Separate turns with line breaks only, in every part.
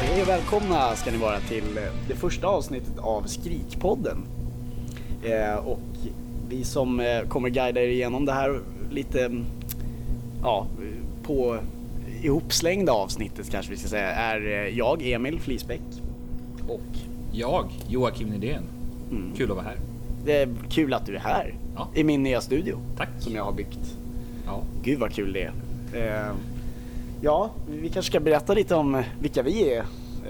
Hej och välkomna ska ni vara till eh, det första avsnittet av Skrikpodden. Eh, och vi som eh, kommer guida er igenom det här lite mm, ja, på ihopslängda avsnittet kanske vi ska säga är eh, jag, Emil Flisbäck. Och
Jag, Joakim Nydén.
Mm.
Kul att vara här.
det är kul att du är här
Ja.
i min nya studio
Tack.
som jag har byggt.
Ja.
Gud vad kul det är. Eh, ja, vi kanske ska berätta lite om vilka vi är.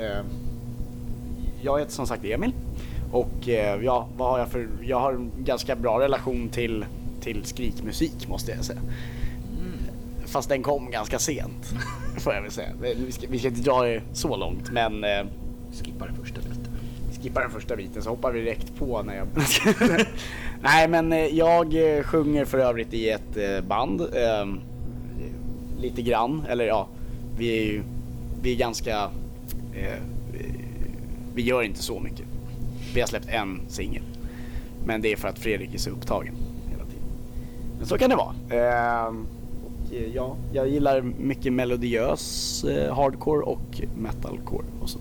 Eh, jag heter som sagt Emil och eh, ja, vad har jag för, jag har en ganska bra relation till, till skrikmusik måste jag säga. Mm. Fast den kom ganska sent, får jag väl säga. Vi ska, vi ska inte dra det så långt men eh,
Skippa den första biten.
skippa den första biten så hoppar vi direkt på när jag... Nej men eh, jag eh, sjunger för övrigt i ett eh, band. ehm, Lite grann, eller ja, vi är ju, vi är ganska, eh, eh, vi gör inte så mycket. Vi har släppt en singel. Men det är för att Fredrik är så upptagen hela tiden. Men så kan det vara. Ehm, och eh, ja, jag gillar mycket melodiös eh, hardcore och metalcore och så.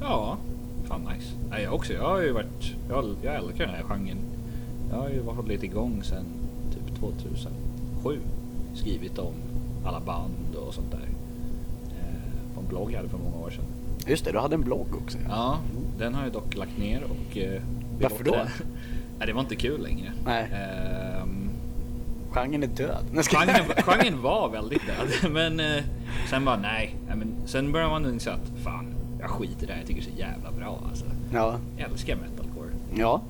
Ja, fan nice. Nej, jag också. Jag har ju varit... Jag, jag älskar den här genren. Jag har ju hållit igång sedan typ 2007. Skrivit om alla band och sånt där. Eh, på en blogg jag hade för många år sedan.
Just det, du hade en blogg också.
Ja, den har jag dock lagt ner och... Eh, vi
Varför
låter
då?
den- Nej, det var inte kul längre.
Nej.
Ehm,
Genren är död. Nej, jag skojar.
Genren, genren var väldigt död, men eh, sen bara nej. nej men, sen börjar man inse att fan, jag skiter i det här. Jag tycker det är så jävla bra alltså.
Ja,
Jag älskar metalcore.
ja.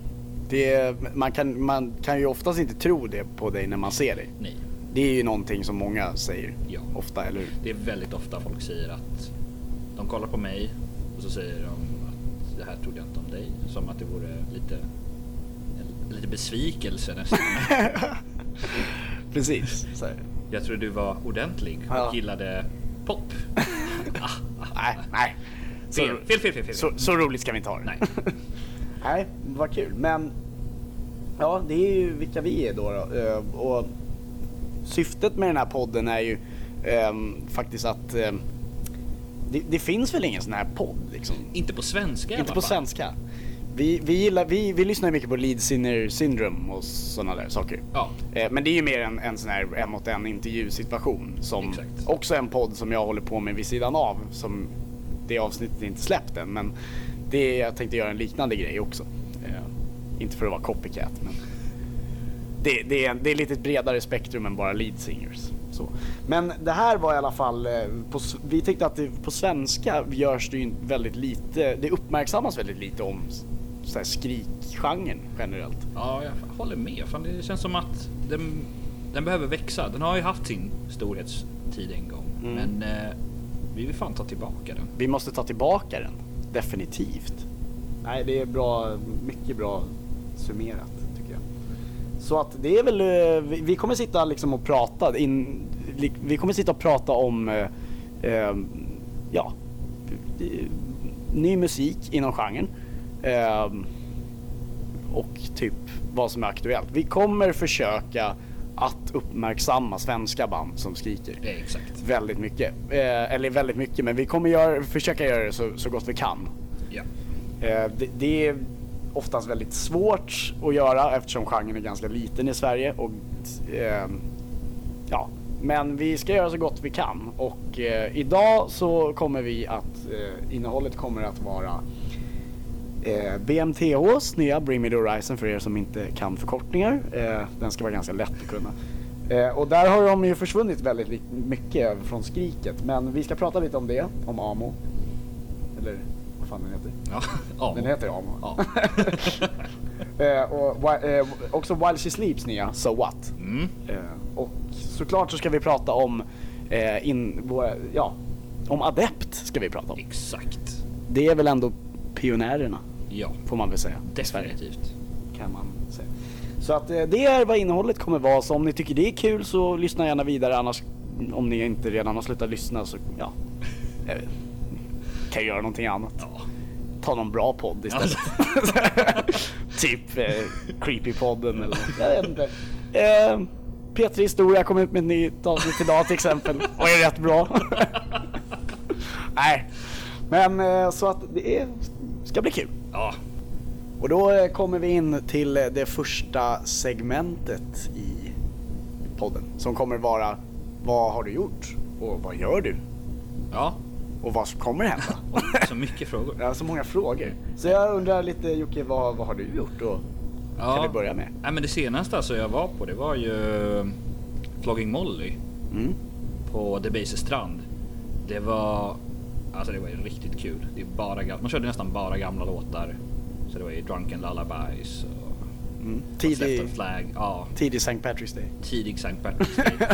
Det är, man, kan, man kan ju oftast inte tro det på dig när man ser dig.
Nej,
Det är ju någonting som många säger
Ja.
ofta, eller hur?
det är väldigt ofta folk säger att de kollar på mig och så säger de att det här trodde jag inte om dig. Som att det vore lite, en- lite besvikelse nästan.
Precis. Så här.
jag tror du var ordentlig och
Ja.
gillade pop. ah, ah,
Nej, nej. Så,
fel, fel, fel, fel. fel.
så, så roligt ska vi inte ha det.
Nej.
nej, vad kul. Men ja, det är ju vilka vi är då. då. Eh, Och syftet med den här podden är ju ehm, faktiskt att ehm, det, det finns väl ingen sån här podd liksom?
Inte på svenska i
Inte
alla
på
fall.
svenska. Vi, vi, gillar, vi, vi lyssnar mycket på lead sinner syndrome och sådana där saker.
Ja,
Eh, Men det är ju mer en, en sån här en mot en intervjusituation som
Exakt.
också är en podd som jag håller på med vid sidan av som det avsnittet är inte släppt än men det, jag tänkte göra en liknande grej också. Eh, Inte för att vara copycat men det, det, är, det är lite ett bredare spektrum än bara lead singers. Så. Men det här var i alla fall, eh, på, s- vi tyckte att det, på svenska görs det ju inte väldigt lite, det uppmärksammas väldigt lite om s- så här skrikgenren generellt.
Ja, jag håller med. Fan, det känns som att den, den behöver växa. Den har ju haft sin storhetstid en gång,
Mm.
men eh, vi vill fan ta tillbaka den.
Vi måste ta tillbaka den, definitivt. Nej, det är bra, mycket bra summerat tycker jag. Så att det är väl, eh, vi- vi kommer sitta liksom och prata, in, li- vi kommer sitta och prata om, eh, eh, ja, eh, ny musik inom genren. Eh, och typ vad som är aktuellt. Vi kommer försöka att uppmärksamma svenska band som skriker
Eh, exakt.
väldigt mycket. Eh, eller väldigt mycket, men vi kommer göra, försöka göra det så, så gott vi kan.
Ja.
Eh, det, det är oftast väldigt svårt att göra eftersom genren är ganska liten i Sverige. Och, ehm, ja. Men vi ska göra så gott vi kan och eh, idag så kommer vi att, eh, innehållet kommer att vara eh, BMTHs nya Bring Me The Horizon för er som inte kan förkortningar. Eh, den ska vara ganska lätt att kunna. Eh, och där har de ju försvunnit väldigt li- mycket från skriket men vi ska prata lite om det, om AMO. Eller vad fan den heter.
ja. ja.
Den heter Amo.
Ja.
Eh, och, wi- eh, också While She Sleeps nya, So What.
Mm.
Eh, och såklart så ska vi prata om, eh, in, våra, ja, om Adept ska vi prata om.
Exakt.
Det är väl ändå pionjärerna,
Ja,
får man väl säga. i Sverige,
definitivt.
Kan man säga. Så att eh, det är vad innehållet kommer vara, så om ni tycker det är kul så lyssna gärna vidare annars, om ni inte redan har slutat lyssna så, ja. Jag vet. Kan göra någonting annat.
Ja.
ta någon bra podd istället. typ eh, Creepypodden eller något. Jag vet inte. Eh, P3 Historia kom ut med ett nytt avsnitt idag till exempel och är rätt bra. Nej, men eh, så att det är, ska bli kul.
Ja,
Och då eh, kommer vi in till eh, det första segmentet i podden som kommer vara Vad har du gjort? Och vad gör du?
ja.
Och vad kommer hända?
Oj, så mycket frågor.
Jag har så många frågor. Så jag undrar lite Jocke, vad, vad har du gjort? Och
Ja.
kan vi börja med?
Nej, men det senaste alltså jag var på det var ju eh, Flogging Molly
Mm.
på Debaser strand. Det var alltså det var ju riktigt kul. Det är bara gamla, man körde nästan bara gamla låtar. Så det var ju Drunken Lullabies och
Mm.
What's Left
Tidig,
of Flag. Ja,
tidig St. Patrick's Day.
tidig St. Patrick's Day.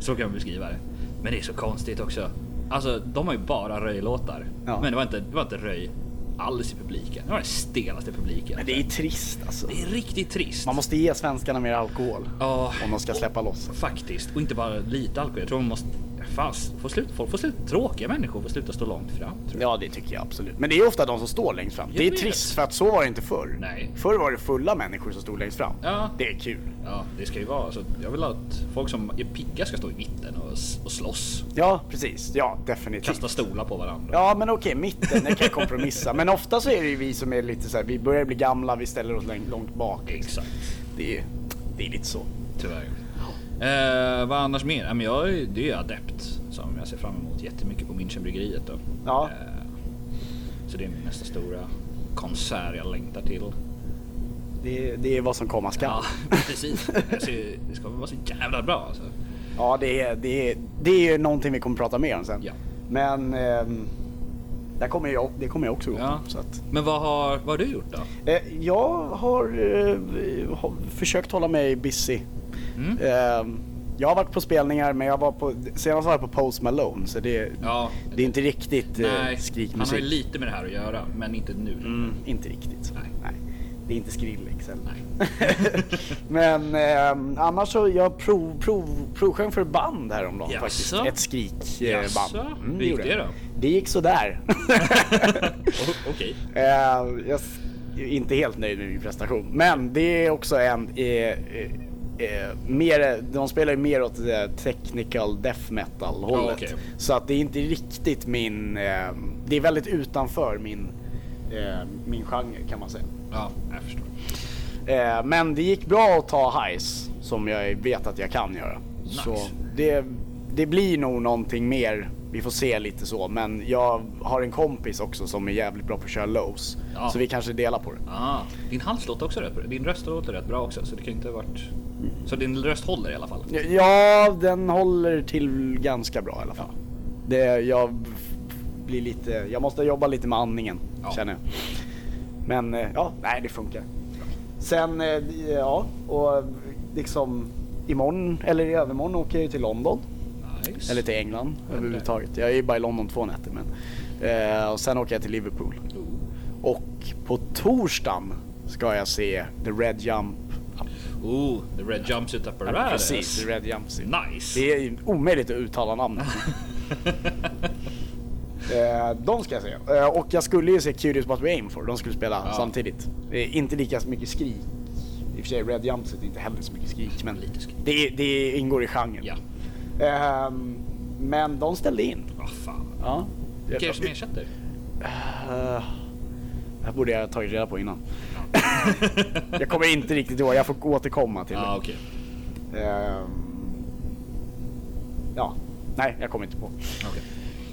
så kan man beskriva det. Men det är så konstigt också. Alltså de har ju bara röjlåtar.
Ja.
Men det var, inte, det var inte röj alls i publiken. Det var den stelaste publiken.
Men det är trist alltså.
det är riktigt trist.
Man måste ge svenskarna mer alkohol
Ja.
om de ska släppa loss.
Faktiskt, och inte bara lite alkohol. Jag tror man måste... Fast, få slut, folk får slut, tråkiga människor får sluta stå långt fram. Tror jag.
Ja, det tycker jag absolut. Men det är ofta de som står längst fram.
Jag
Det är
vet.
trist för att så var det inte förr.
Nej.
Förr var det fulla människor som stod längst fram.
Ja.
Det är kul.
Ja, det ska ju vara. Så jag vill att folk som är pigga ska stå i mitten och, s- och slåss.
Ja, precis. Ja, definitivt.
Kasta stolar på varandra.
Ja, men okej, mitten, det kan jag kompromissa. Men ofta så är det ju vi som är lite så här, vi börjar bli gamla, vi ställer oss läng- långt bak.
Exakt,
Det är, det är lite så.
tyvärr. Eh, vad annars mer? Ja, men jag, är- det är ju adept som jag ser fram emot jättemycket på Münchenbryggeriet. Då.
Ja.
Eh, så det är min nästa stora konsert jag längtar till.
Det, är- det är vad som komma skall.
Ja, precis. Jag ser, det ska vara så jävla bra alltså.
Ja, det är, det är, det är ju någonting vi kommer prata mer om sen.
Ja.
Men ehm, där kommer jag, det kommer jag också gå
Ja.
på. Så att,
Men vad har, vad har du gjort då?
eh, jag har, eh, har försökt hålla mig busy.
Mm.
Ehm, jag har varit på spelningar, men jag var på, senast var jag på Post Malone, så det,
Ja.
det är inte riktigt eh,
Nej, han har ju
skrikmusik.
lite med det här att göra, men inte nu.
Mm, inte riktigt.
Nej.
Det är inte Skrillex heller.
Nej.
Men ehm, annars så, jag prov, prov, provsjöng för band häromdagen
Jaså?
faktiskt. Ett skrikband.
Jaså? Hur gick
gjorde
det
jag.
då?
Mm, Det gick sådär.
O- Okej.
Eh, jag s- är inte helt nöjd med min prestation. Men det är också en... Eh, eh, eh, mer, de spelar ju mer åt det där technical death metal hållet.
Ja, okej.
Så att det är inte riktigt min... Eh, det är väldigt utanför min, eh, min genre kan man säga.
Ja, jag förstår.
Eh, men det gick bra att ta highs som jag vet att jag kan göra.
Nice.
Så det, det blir nog någonting mer. Vi får se lite så, men jag har en kompis också som är jävligt bra på att köra lows.
Ja.
Så vi kanske delar på det.
Ah, din hals låter också rätt bra. Din röst låter rätt bra också, så det kan inte ha varit... Så din röst håller i alla fall?
Ja, den håller till ganska bra i alla fall. Det, jag f- blir lite, jag måste jobba lite med andningen
Ja.
känner jag. Men eh, ja, nej det funkar. Sen, eh, ja, och liksom imorgon eller i övermorgon åker jag ju till London.
Nice.
Eller till England överhuvudtaget. Jag är ju bara i London två nätter men. Eh, och sen åker jag till Liverpool. Och på torsdagen ska jag se The Red Jump.
Oh, the red jumpsuit apparatus.
Precis, The Red Jump.
Nice.
Det är ju omöjligt att uttala namnet. eh, de ska jag se. Eh, och jag skulle ju se Curious What We Aim For. De skulle spela
Ja.
samtidigt. Eh, inte lika så mycket skrik. I och för sig, Red Jumpsuit är inte heller så mycket skrik. Men
Lite skrik.
Det, det ingår i genren.
Ja.
Ehm, men de ställde in.
Ah, fan.
Ja.
Vilka är det som ersätter?
Eh, det här borde jag ha tagit reda på innan. jag kommer inte riktigt ihåg, jag får återkomma till
ah, okej.
det. Ehm, ja, nej jag kommer inte på.
Okej.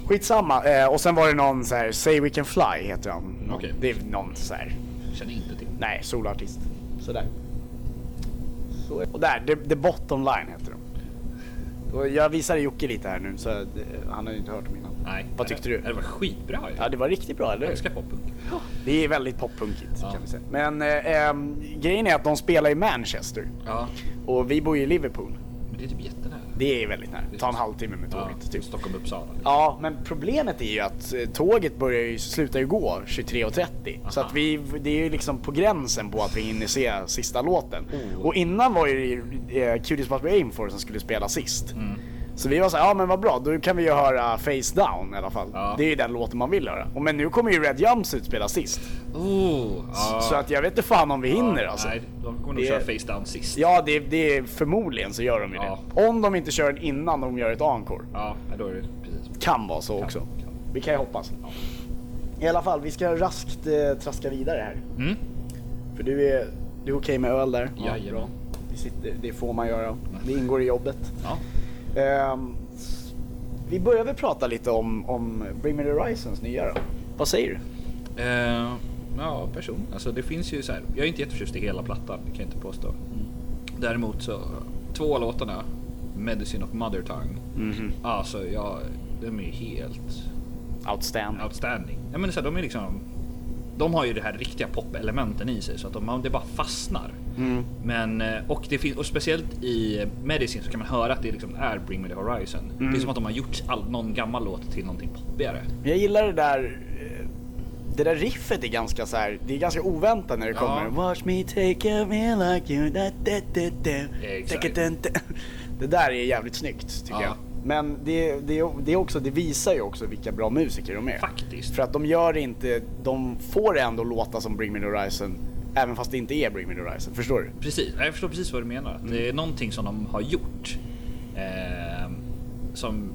Skitsamma, eh, och sen var det någon så här, Say We Can Fly heter han. Någon-
Okej.
Det är någon så här,
Känner inte till.
nej solartist. Sådär. Så, och där, the, the Bottom Line heter de. Och jag visade Jocke lite här nu så eh, han har ju inte hört dem innan.
Nej.
Vad tyckte du?
Ja, Det var skitbra ju.
Ja det var riktigt bra eller
Jag
hur?
älskar poppunk.
Det är väldigt poppunkigt
Ja.
kan vi säga. Men eh, ehm, grejen är att de spelar i Manchester
Ja,
och vi bor ju i Liverpool.
men det är typ jättenära.
Det är väldigt nära. Ta en halvtimme med
Ja,
tåget typ.
Stockholm-Uppsala. liksom.
Ja, men problemet är ju att eh, tåget börjar ju, slutar ju gå 23.30. Så
Aha.
att vi, det är ju liksom på gränsen på att vi hinner se sista låten.
Oh.
Och innan var ju det eh, Curious What We Aim For som skulle spela sist.
Mm.
Så vi var såhär, ja men vad bra, då kan vi ju höra Face Down i alla fall.
Ja.
Det är ju den låten man vill höra. Och men nu kommer ju Red Jumpsuit spela sist.
Oh, ja.
Så att jag vet inte fan om vi
Ja,
hinner alltså.
Nej, de kommer nog
Det-
köra face down sist. Ja.
Ja, det, det är förmodligen så gör de ju
Ja.
det. Om de inte kör den innan de gör ett encore.
ja, då är det precis.
Kan vara så också.
Kan-
Vi kan ju hoppas. I alla fall, vi ska raskt eh, traska vidare här.
Mm.
För du är, du är okej med öl där?
Jajamän.
Det, sitter, det får man göra. Det ingår i jobbet.
Ja.
Ehm, s- vi börjar väl prata lite om, om Bring Me The Horizons nya då. Vad säger du?
Eh, ja, person. Alltså det finns ju så här. Jag är inte jätteförtjust i hela plattan, det kan jag inte påstå.
Mm.
Däremot så, två av låtarna, Medicine och Mother Tongue.
Mhm.
Alltså, jag, de är ju helt
Outstanding.
outstanding. Jag menar så här, de är liksom... De har ju det här riktiga pop-elementen i sig så att de, det bara fastnar. Men, eh, och, det finns, och speciellt i Medicine så kan man höra att det liksom är Bring Me The Horizon. Det är som att de har gjort all, någon gammal låt till någonting poppigare.
Jag gillar det där... eh, Det där riffet är ganska så här, det är ganska oväntat när det
Ja.
kommer. Watch me take a me like you da, da, da, da.
Exakt.
Take it and ta- Det där är jävligt snyggt tycker
Ja.
jag. Men det, det, det, är också, det visar ju också vilka bra musiker de är.
Faktiskt.
För att de gör inte, de får ändå låta som Bring Me The Horizon även fast det inte är Bring Me The Horizon, förstår du?
Precis, jag förstår precis vad du menar. Att Det är någonting som de har gjort. ehm, som...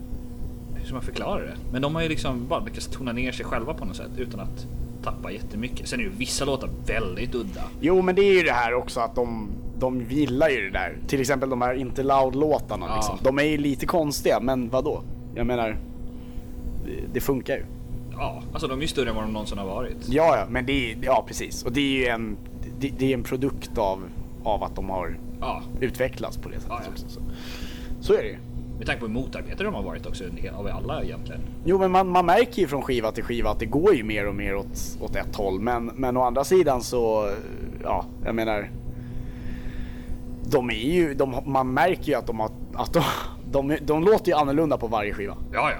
Hur ska man förklara det? Men de har ju liksom bara lyckats tona ner sig själva på något sätt utan att tappa jättemycket. Sen är ju vissa låtar väldigt udda.
Jo men det är ju det här också att de, de gillar ju det där. Till exempel de här Inte Loud-låtarna
Ja.
liksom. De är ju lite konstiga men vadå? Jag menar, det, det funkar ju.
Ja, alltså de är ju större än vad de någonsin har varit.
Ja, ja, men det är, ja precis. Och det är ju en, det, det är en produkt av, av att de har
Ja,
utvecklats på det sättet
Ja, ja.
också. Så. så är det ju.
med tanke på hur motarbetade de har varit också under hela, av alla egentligen.
Jo men man, man märker ju från skiva till skiva att det går ju mer och mer åt, åt ett håll. Men, men å andra sidan så, ja, jag menar. De är ju, de, man märker ju att de har, att de, de, de låter ju annorlunda på varje skiva.
Ja, ja.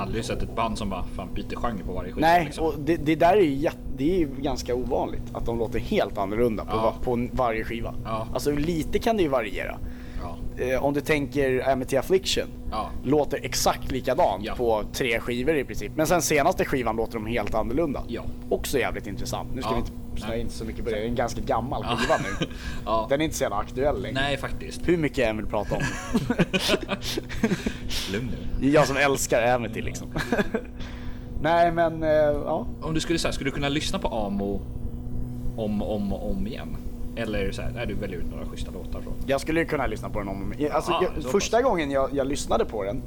Aldrig sett ett band som bara fan byter genre på varje skiva.
Nej,
liksom.
och det, det där är ju, jätte, det är ju ganska ovanligt att de låter helt annorlunda på,
Ja.
va- på varje skiva.
Ja.
Alltså lite kan det ju variera.
Ja,
Eh, om du tänker Amity Affliction.
ja.
Låter exakt likadant
Ja.
på tre skivor i princip. Men sen senaste skivan låter de helt annorlunda.
Ja.
Också jävligt intressant. Nu ska
Ja.
vi inte snöa in så mycket på det. Det är en ganska gammal skiva nu.
ja.
Den är inte så jävla aktuell längre.
Nej, faktiskt.
Hur mycket jag än vill prata om.
Lugn nu.
det är jag som älskar Amity liksom. Nej men, eh, ja.
Om du skulle säga, skulle du kunna lyssna på Amo om och om, och om igen? Eller så här, nej, du väljer ut några schyssta låtar från.
Jag skulle ju kunna lyssna på den om och om igen. alltså,
Aha, så
jag,
pass.
Första gången jag, jag lyssnade på den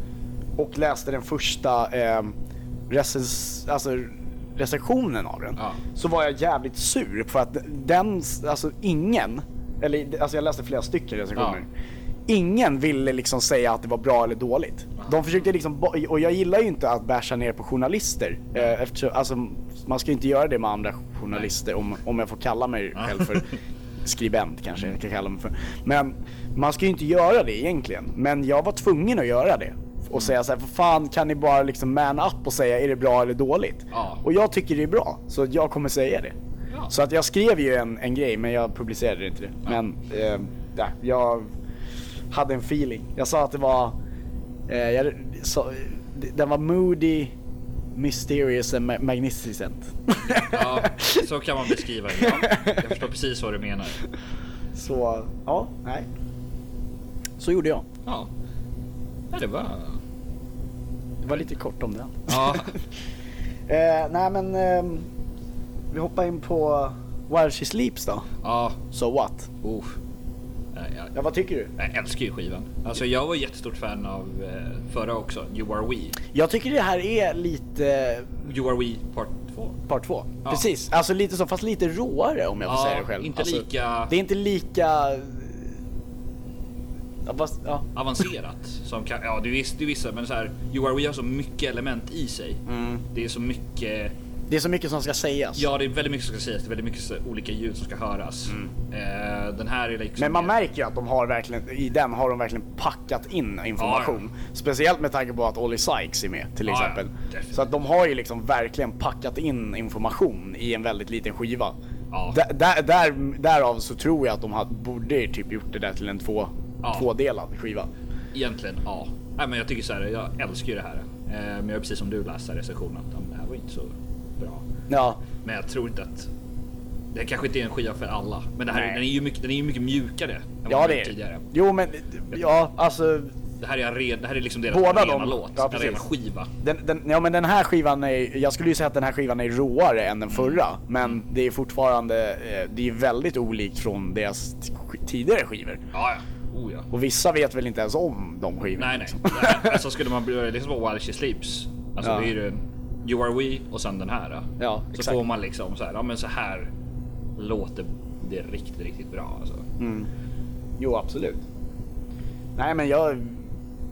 och läste den första eh, recens, alltså, recensionen av den
Ja.
så var jag jävligt sur för att den, alltså ingen, eller alltså jag läste flera stycken recensioner. Ingen ville liksom säga att det var bra eller dåligt. De försökte liksom, bo- och jag gillar ju inte att basha ner på journalister. Eh, eftersom, alltså, man ska ju inte göra det med andra journalister om, om jag får kalla mig
Ja.
själv för skribent kanske jag kan kalla mig för. Men man ska ju inte göra det egentligen. Men jag var tvungen att göra det.
Mm.
Och säga så här, för fan kan ni bara liksom man up och säga är det bra eller dåligt?
Ja.
Och jag tycker det är bra, så jag kommer säga det.
Ja.
Så att jag skrev ju en, en grej, men jag publicerade inte det. Men eh, ja, jag hade en feeling. Jag sa att det var, eh, jag, sa- den var moody, mysterious and ma- magnificent.
Ja, så kan man beskriva det. Ja, jag förstår precis vad du menar.
Så, ja, nej. Så gjorde jag.
Ja, ja det var...
Det var lite kort om den.
Ja,
Eh, nej men, ehm, vi hoppar in på While She Sleeps då.
ja,
So what?
oh. Nej, jag,
Ja, vad tycker du?
jag älskar ju skivan. Alltså jag var jättestort fan av eh, förra också, You Are We.
Jag tycker det här är lite eh,
You Are We Part 2.
part två.
Ja.
Precis, alltså lite så, fast lite råare om jag får
Ja,
säga det själv.
inte
alltså,
lika-
Det är inte lika... Ja, fast, ja.
avancerat. Som kan, ja, du visste du vissa, men så här, You Are We har så mycket element i sig. Det är så mycket,
Det är så mycket som ska sägas.
ja det är väldigt mycket som ska sägas, det är väldigt mycket så, olika ljud som ska höras. Eh, den här är liksom...
Men man märker ju att de har verkligen, i den har de verkligen packat in information. Speciellt med tanke på att Ollie Sykes är med till
Ja, ja.
exempel.
Definitivt.
Så att de har ju liksom verkligen packat in information i en väldigt liten skiva.
Ja.
Där, där, där, därav så tror jag att de hade, borde typ gjort det där till en två,
Ja.
tvådelad skiva.
Egentligen, ja. Nej, men jag tycker så här, jag älskar ju det här. Eh, men jag är precis som du läste recensionen, att ja, men det här var inte så bra.
Ja,
Men jag tror inte att... Det kanske inte är en skiva för alla, men det här,
Nej.
den, är ju mycket, den är ju mycket mjukare än vad
ja
den
det
var
är
tidigare.
Jo men, ja alltså
Det här är, aren, det här är liksom deras
Båda
arena
de.
låt.
Ja,
arena
precis.
skiva.
Den, den, ja men den här skivan är, jag skulle ju säga att den här skivan är råare än den förra. Men det är fortfarande, eh, det är väldigt olikt från deras t- sk- tidigare skivor.
Ja, ja. Oh, ja.
Och vissa vet väl inte ens om de skivorna.
Nej, nej.
liksom.
nej. Alltså skulle man börja liksom på While She Sleeps. Alltså
Ja.
det är ju You Are We och sen den här.
Ja,
så
exakt.
får man liksom så här, ja men så här låter det riktigt, riktigt bra alltså.
Mm. Jo absolut. Nej men jag,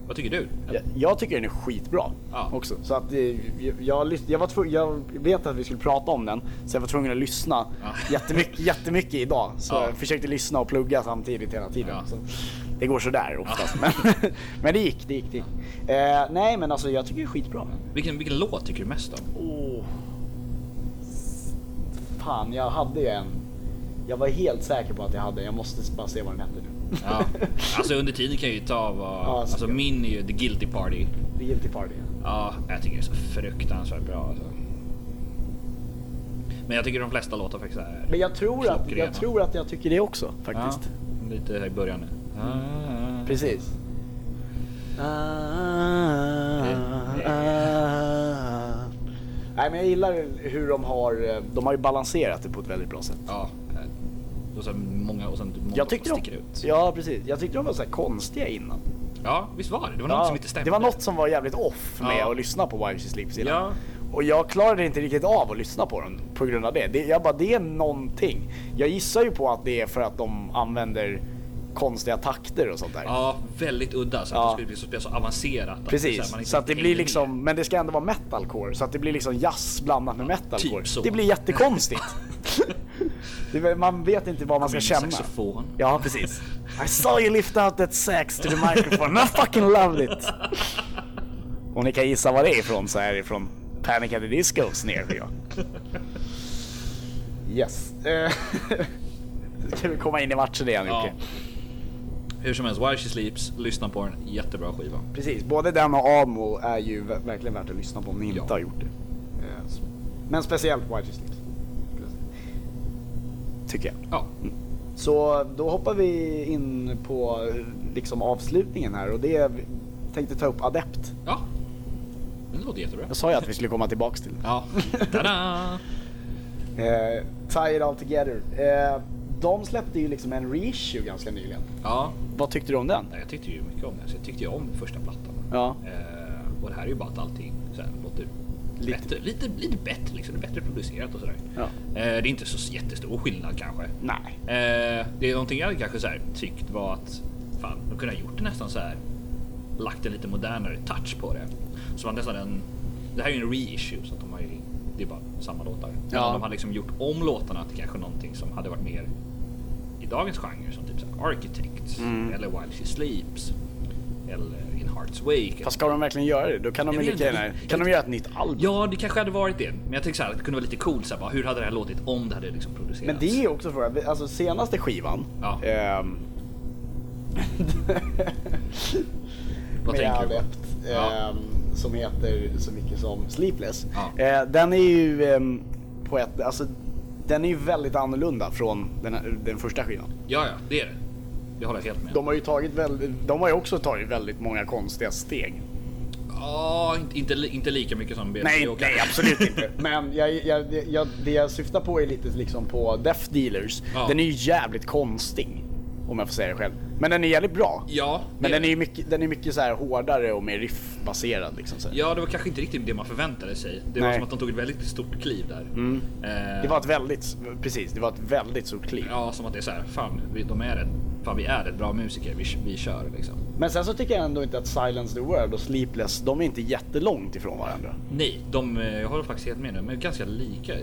Vad tycker du?
jag, jag tycker den är skitbra
Ja.
också. Så att eh, jag, jag, lys- jag, var tvu- jag vet att vi skulle prata om den, så jag var tvungen att lyssna
Ja.
jättemycket, jättemycket idag. Så
Ja.
jag försökte lyssna och plugga samtidigt hela tiden.
Ja.
Så det går sådär oftast.
Ja.
Men, men det gick, det gick. Det gick. Eh, nej men alltså jag tycker det är skitbra.
Vilken, vilken låt tycker du mest om?
Oh. Fan, jag hade ju en. Jag var helt säker på att jag hade Jag måste bara se vad den hette nu.
Ja. Alltså under tiden kan jag ju ta vad...
Ja,
alltså
säkert.
min är ju The Guilty Party.
The Guilty Party.
Ja, jag tycker det är så fruktansvärt bra alltså. Men jag tycker de flesta låtar faktiskt är
Men jag tror, att,
klockrena.
jag tror att jag tycker det också faktiskt.
Ja, lite här i början nu. Ah.
Precis. Nej men jag gillar hur de har, eh, de har ju balanserat det på ett väldigt bra sätt.
Ja. eh, Och sen många och sen typ många
Jag tyckte
som
de,
sticker ut.
ja, precis. Jag tyckte de var så här konstiga innan.
Ja, visst var det? Det var något
ja,
som inte stämde.
det var något som var jävligt off med
Ja.
att lyssna på Why She Sleeps innan.
Ja.
Och jag klarade inte riktigt av att lyssna på dem på grund av det. det. Jag bara, det är någonting. Jag gissar ju på att det är för att de använder konstiga takter och sånt där.
Ja, väldigt udda. Så att
Ja.
det skulle bli så, spela så avancerat. att här, man
Precis,
inte
så att det
hängde
blir
med.
liksom, men det ska ändå vara metalcore, så att det blir liksom jazz blandat med metalcore.
typ så.
Det blir jättekonstigt. det, är- man vet inte vad man ska
Min
känna.
saxofon.
Ja, precis. I saw you lift out that sax to the microphone, I fucking loved it! Och ni kan gissa var det är ifrån, så är det från Panic at the Discos nerskiva. Yes. Eh, ska vi komma in i matchen igen Jocke?
Ja. Hur som helst, Why She Sleeps, lyssna på den. Jättebra skiva.
Precis, både den och Amo är ju ver- verkligen värt att lyssna på om ni inte
Ja.
har gjort det. Eh, s- Men speciellt White Is Lips. Tycker jag.
Ja,
Så då hoppar vi in på eh, liksom avslutningen här och det är, tänkte ta upp Adept.
ja. Den låter jättebra.
Jag sa ju att vi skulle komma tillbaks till det.
Ja. Tada!
Eh, tie it all together. Eh, de släppte ju liksom en reissue ganska nyligen.
Ja,
Vad tyckte du om den?
nej, jag tyckte ju mycket om den. Så jag tyckte ju om första plattan.
Ja.
Eh, och det här är ju bara att allting så här, låter
Lite-
lite. Bättre, lite, lite bättre. Liksom, det är bättre producerat och sådär.
Ja.
Eh, det är inte så jättestor skillnad kanske.
Nej.
Eh, det är någonting jag hade kanske så här, tyckt var att fan, de kunde ha gjort det nästan så här. Lagt en lite modernare touch på det. Så man nästan en. Det här är ju en reissue så att de har ju, det är bara samma låtar.
Ja.
Men De hade liksom gjort om låtarna till kanske någonting som hade varit mer i dagens genre som typ så här Architects
Mm.
eller While She Sleeps eller In Heart's Wake.
Fast ska de verkligen göra det? Då kan de
Jag
ju
vet
lika
inte.
gärna, kan de göra ett nytt album?
Ja, det kanske hade varit det. Men jag tänkte så här, att det kunde vara lite coolt. Så här, bara, hur hade det här låtit om det hade liksom producerats?
Men det är också frågan, alltså senaste skivan.
Ja.
ehm,
Vad
med
tänker du på?
Adept,
Ja.
ehm, som heter så mycket som Sleepless.
Ja.
Eh, den är ju ehm, på ett, alltså den är ju väldigt annorlunda från den, här, den första skivan.
Ja, ja, det är det. Det håller jag helt med.
De har ju tagit väldigt, de har ju också tagit väldigt många konstiga steg.
Ja, inte, inte, li- inte lika mycket som BLC
Nej,
och-
nej absolut inte. Men jag, jag, det- jag, det jag syftar på är lite liksom på Death Dealers.
Ja.
Den är ju jävligt konstig. Om jag får säga det själv. Men den är jävligt bra.
Ja,
Men
det-
den är ju mycket, den är mycket så här hårdare och mer riffbaserad liksom. Så här.
Ja, det var kanske inte riktigt det man förväntade sig. Det var
Nej. Mm.
som att de tog ett väldigt stort kliv där. Eh,
Det var ett väldigt, precis, det var ett väldigt stort kliv.
Ja, som att det är så här, fan, vi, de är ett, fan, vi är ett bra musiker, vi, vi kör liksom.
Men sen så tycker jag ändå inte att Silence the World och Sleepless, de är inte jättelångt ifrån varandra.
Nej, de, eh, jag håller faktiskt helt med nu, men ganska lika.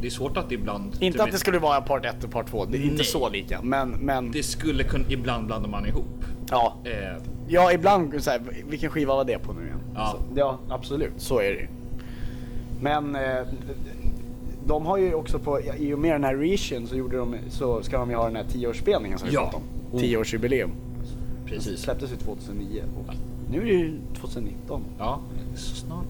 Det är svårt att ibland...
Mm. Inte
typ
att det skulle vara part 1 och part 2, det är inte
Nej.
så lika. Men, men
Det skulle kunna... Ibland blandar man ihop.
ja.
Eh,
Ja, ibland så här, vilken skiva var det på nu igen?
Ja.
så, ja absolut, så är det ju. Men eh, de har ju också på, i och med den här reishen så, gjorde de, så ska de ju ha den här tioårsspelningen som vi
Ja.
pratade om.
Oh.
Tioårsjubileum. Det
precis.
släpptes ju 2009 och nu är det ju 2019.
Ja, så snart.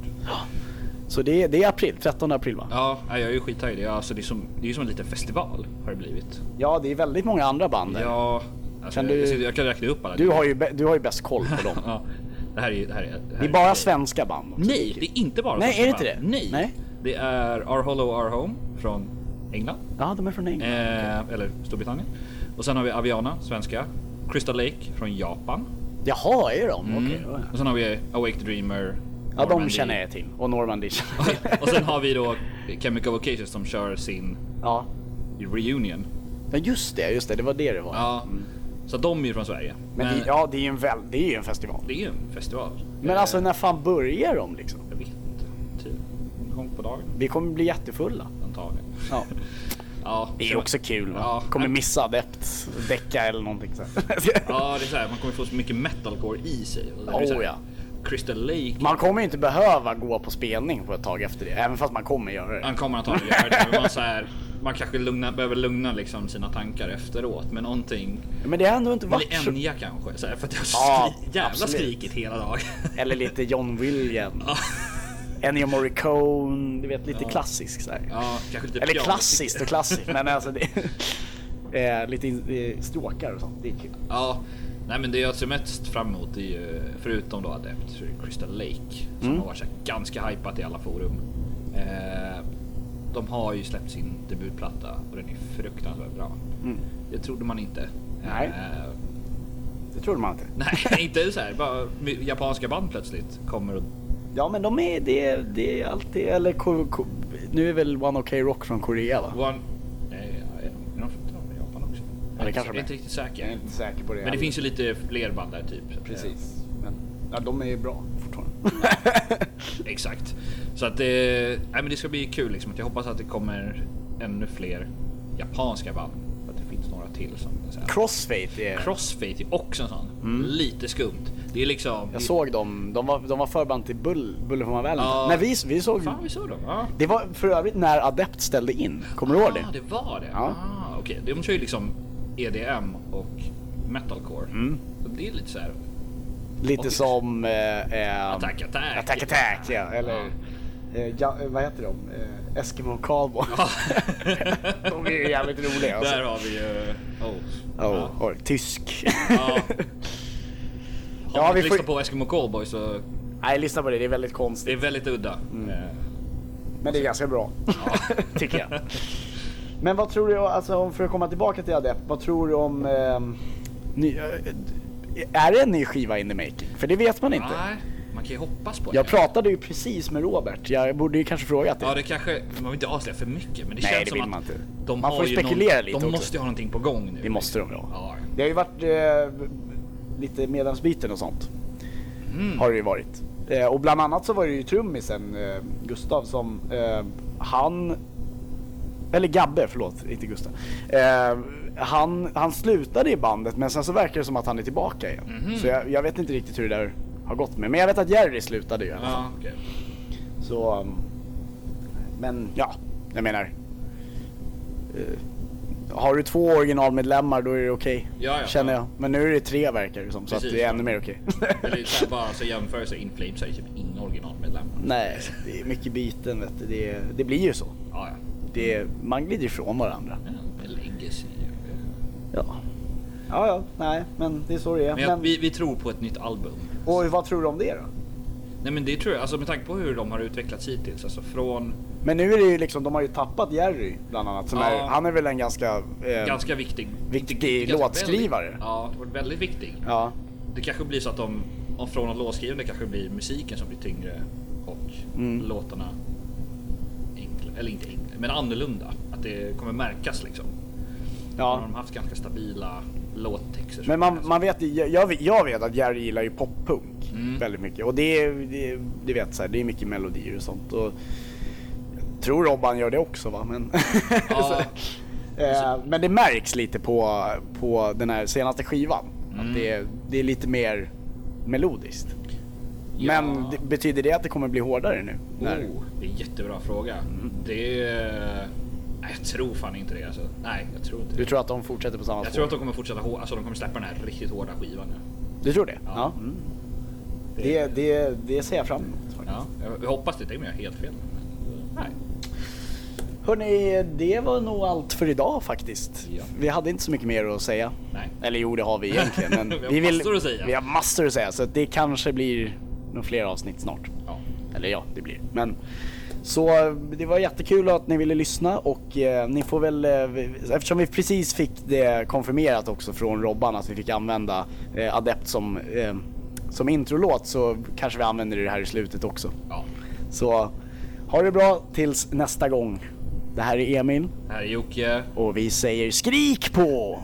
Så det är, det är april, 13 april va? Ja.
Ja, nej, jag är ju skittaggad. Ja, Alltså, det är ju som, det är ju som en liten festival har det blivit.
det är väldigt många andra band där.
Ja, Alltså,
Kan
jag, jag,
du-
sitter- jag kan räkna upp alla.
Du har ju, bä- du har ju bäst koll på dem.
ja, det här är ju... Det, här är, det, här
Det är bara svenska band också.
Nej, det är inte bara
Nej,
svenska
är det inte
band.
det?
Nej.
Nej.
Det är Our Hollow Our Home från England.
Ja, de är från England.
Eh, eller Storbritannien. Och sen har vi Aviana, svenska. Crystal Lake från Japan.
Jaha, är de? Mm.
Mm.
Okej. ja, ja.
Och sen har vi Awake the Dreamer.
Ja, de
Normandy.
känner jag till. Och Normandy känner jag till.
och sen har vi då Chemical Vocations som kör sin
Ja.
reunion.
ja, just det, just det. Det var det det var.
Ja, så de är ju från Sverige.
Men det, ja, det är ju en, väl, det är ju en festival.
det är ju en festival.
Men
Eh,
alltså när fan börjar de liksom?
Jag vet inte. Typ en gång på dagen
Vi kommer bli jättefulla.
antagligen.
Ja.
Ja,
Det är
så-
också kul va?
Ja,
kommer
men-
missa adept, däcka eller någonting så. här.
Ja, det är så här, man kommer få så mycket metalcore i sig. Och det är
Oh,
så här,
ja.
Crystal Lake.
Man kommer ju inte behöva gå på spelning på ett tag efter det, även fast man kommer göra det.
Han kommer antagligen göra det. men Man, så här, man kanske lugna, behöver lugna liksom sina tankar efteråt med någonting.
Men det har ändå inte varit
Eller
så...
Enya kanske. Så här, för att jag har
Ja,
skri- jävla
absolut.
skrikit hela dagen.
Eller lite John Williams.
Ja.
Ennio Morricone, du vet lite klassiskt så här.
ja, kanske lite
Eller
piano.
klassiskt och klassiskt, men alltså det... eh, lite in- eh, stråkar och sånt, det är kul.
Ja, nej men det jag ser mest fram emot är ju, förutom då Adept, så är det Crystal Lake. Som
Mm.
har varit så här ganska hypat i alla forum. Eh, de har ju släppt sin debutplatta och den är fruktansvärt bra.
Mm.
Det trodde man inte.
Nej.
Eh,
Det trodde man inte.
nej, inte så här. Bara japanska band plötsligt kommer och...
Ja men de är, det, det är alltid, eller ko, ko, nu är väl One OK Rock från Korea va?
One... Nej, är de- är de från Japan också?
Ja, det kanske
jag
de är.
är inte riktigt säker.
Jag är inte säker på det
Men det
heller. Eh,
finns ju lite fler band där typ.
Men, ja, de är ju bra fortfarande.
Exakt. Så att det, nej, men det ska bli kul. Liksom. Jag hoppas att det kommer ännu fler japanska band. För att det finns några till. som så här.
Crossfate är...
Crossfade är också en sån. Lite skumt. Det är liksom...
Mm. jag såg dem, de var, de var förband till Bull, Buller from Valley.
Ja.
När vi, vi såg...
Fan, vi såg dem. Ja.
Det var för övrigt när Adept ställde in, kommer du ihåg
Ah,
det?
det var det.
Ja.
Ah, okej. De kör ju liksom EDM och metalcore.
Mm.
Så det är lite så här...
Lite
Okej.
som... Eh, eh,
Attack, attack.
Attack Attack, ja. Eller... Eh, ja, eh, vad heter de? Eh, Eskimo Cowboy. de är ju jävligt roliga alltså.
Där har vi ju... Oh.
Oh, oj, tysk.
Ja. Har
Ja,
man
vi
inte
får-
lyssnat på Eskimo Callboy så
Nej, lyssna på det. Det är väldigt
det
konstigt.
är väldigt udda.
Mm.
Eh,
Men det är ganska bra. Tycker jag. Men vad tror du, alltså, om- för att komma tillbaka till Adept, vad tror du om... ehm, ny, eh, är det en ny skiva in the making? För det vet man inte.
Nej, man kan ju hoppas på
Jag
det.
pratade ju precis med Robert. Jag borde ju kanske frågat det.
Ja, det kanske, man vill inte avslöja för mycket, men det
Nej,
känns
det
som
vill
att
man inte.
de
Man
har
får ju
ju
spekulera
någon,
lite
De
också.
måste ju ha någonting på gång nu.
Det måste de ju ha.
Ja.
Det har ju varit eh, lite medlemsbyten och sånt. Har det ju varit. Eh, och bland annat så var det ju trummisen eh, Gustav som eh, han eller Gabbe, förlåt, inte Gustav. Eh, han, han slutade i bandet men sen så verkar det som att han är tillbaka igen. Så jag, jag vet inte riktigt hur det där har gått med. Men jag vet att Jerry slutade ju. i alla fall.
Ja, okej.
Så, um, men ja, jag menar. eh, Har du två originalmedlemmar då är det okej,
Ja, ja.
känner jag. Men nu är det tre verkar det som, så
Precis.
att det är ännu mer okej.
Eller så här, bara så jämför sig, In Flames är ju typ inga originalmedlemmar.
Nej, det är mycket byten vet du. Det, det blir ju så.
Ja, ja.
Det, man glider ifrån varandra.
Men det lägger sig.
Ja. ja, ja, nej, men det är så det är.
Men jag,
Men,
vi, vi tror på ett nytt album.
och vad tror du om det då?
Nej men det tror jag, alltså med tanke på hur de har utvecklats hittills, alltså från
Men nu är det ju liksom, de har ju tappat Jerry bland annat. Som
Ja.
är, han är väl en ganska... Eh,
ganska viktig...
viktig
ganska
låtskrivare.
Väldigt, ja, varit väldigt viktig.
Ja,
Det kanske blir så att de, om från och låtskrivande kanske blir musiken som blir tyngre och
Mm.
låtarna enkla, eller inte enkla, men annorlunda. Att det kommer märkas liksom.
ja.
De har haft ganska stabila låttexter.
Men man, man vet, ju- jag, jag vet- jag vet att Jerry gillar ju poppunk
Mm.
väldigt mycket. Och det, är- det, det vet så här, det är mycket melodier och sånt. Och jag tror Robban gör det också va? Men, så,
ja,
eh, men det märks lite på, på den här senaste skivan.
Mm.
Att det, är- det är lite mer melodiskt.
Ja.
Men det, betyder det att det kommer bli hårdare nu? När-
oh, det är en jättebra fråga.
Mm.
Det är... Nej, jag tror fan inte det alltså. Nej, jag tror inte
Du
det.
tror att de fortsätter på samma
Jag
spår?
tror att de kommer fortsätta hår, alltså de kommer släppa den här riktigt hårda skivan nu.
Du tror det?
Ja.
Ja. Mm. Det, det, det ser jag fram emot faktiskt.
Ja, jag, jag hoppas det, det är om jag har helt fel. Men, nej.
Hörni, det var nog allt för idag faktiskt.
Ja.
Vi hade inte så mycket mer att säga.
Nej.
Eller jo, det har vi egentligen. Men
Vi har
vi, vill,
massor att säga.
vi har massor att säga, så att det kanske blir nog fler avsnitt snart.
Ja.
Eller ja, det blir Men så eh, det var jättekul att ni ville lyssna och eh, ni får väl, eh, vi- eftersom vi precis fick det konfirmerat också från Robban att vi fick använda eh, Adept som, eh, som introlåt så kanske vi använder det här i slutet också.
ja.
Så ha det bra tills nästa gång. Det här är Emil
Här är Jocke.
och vi säger skrik på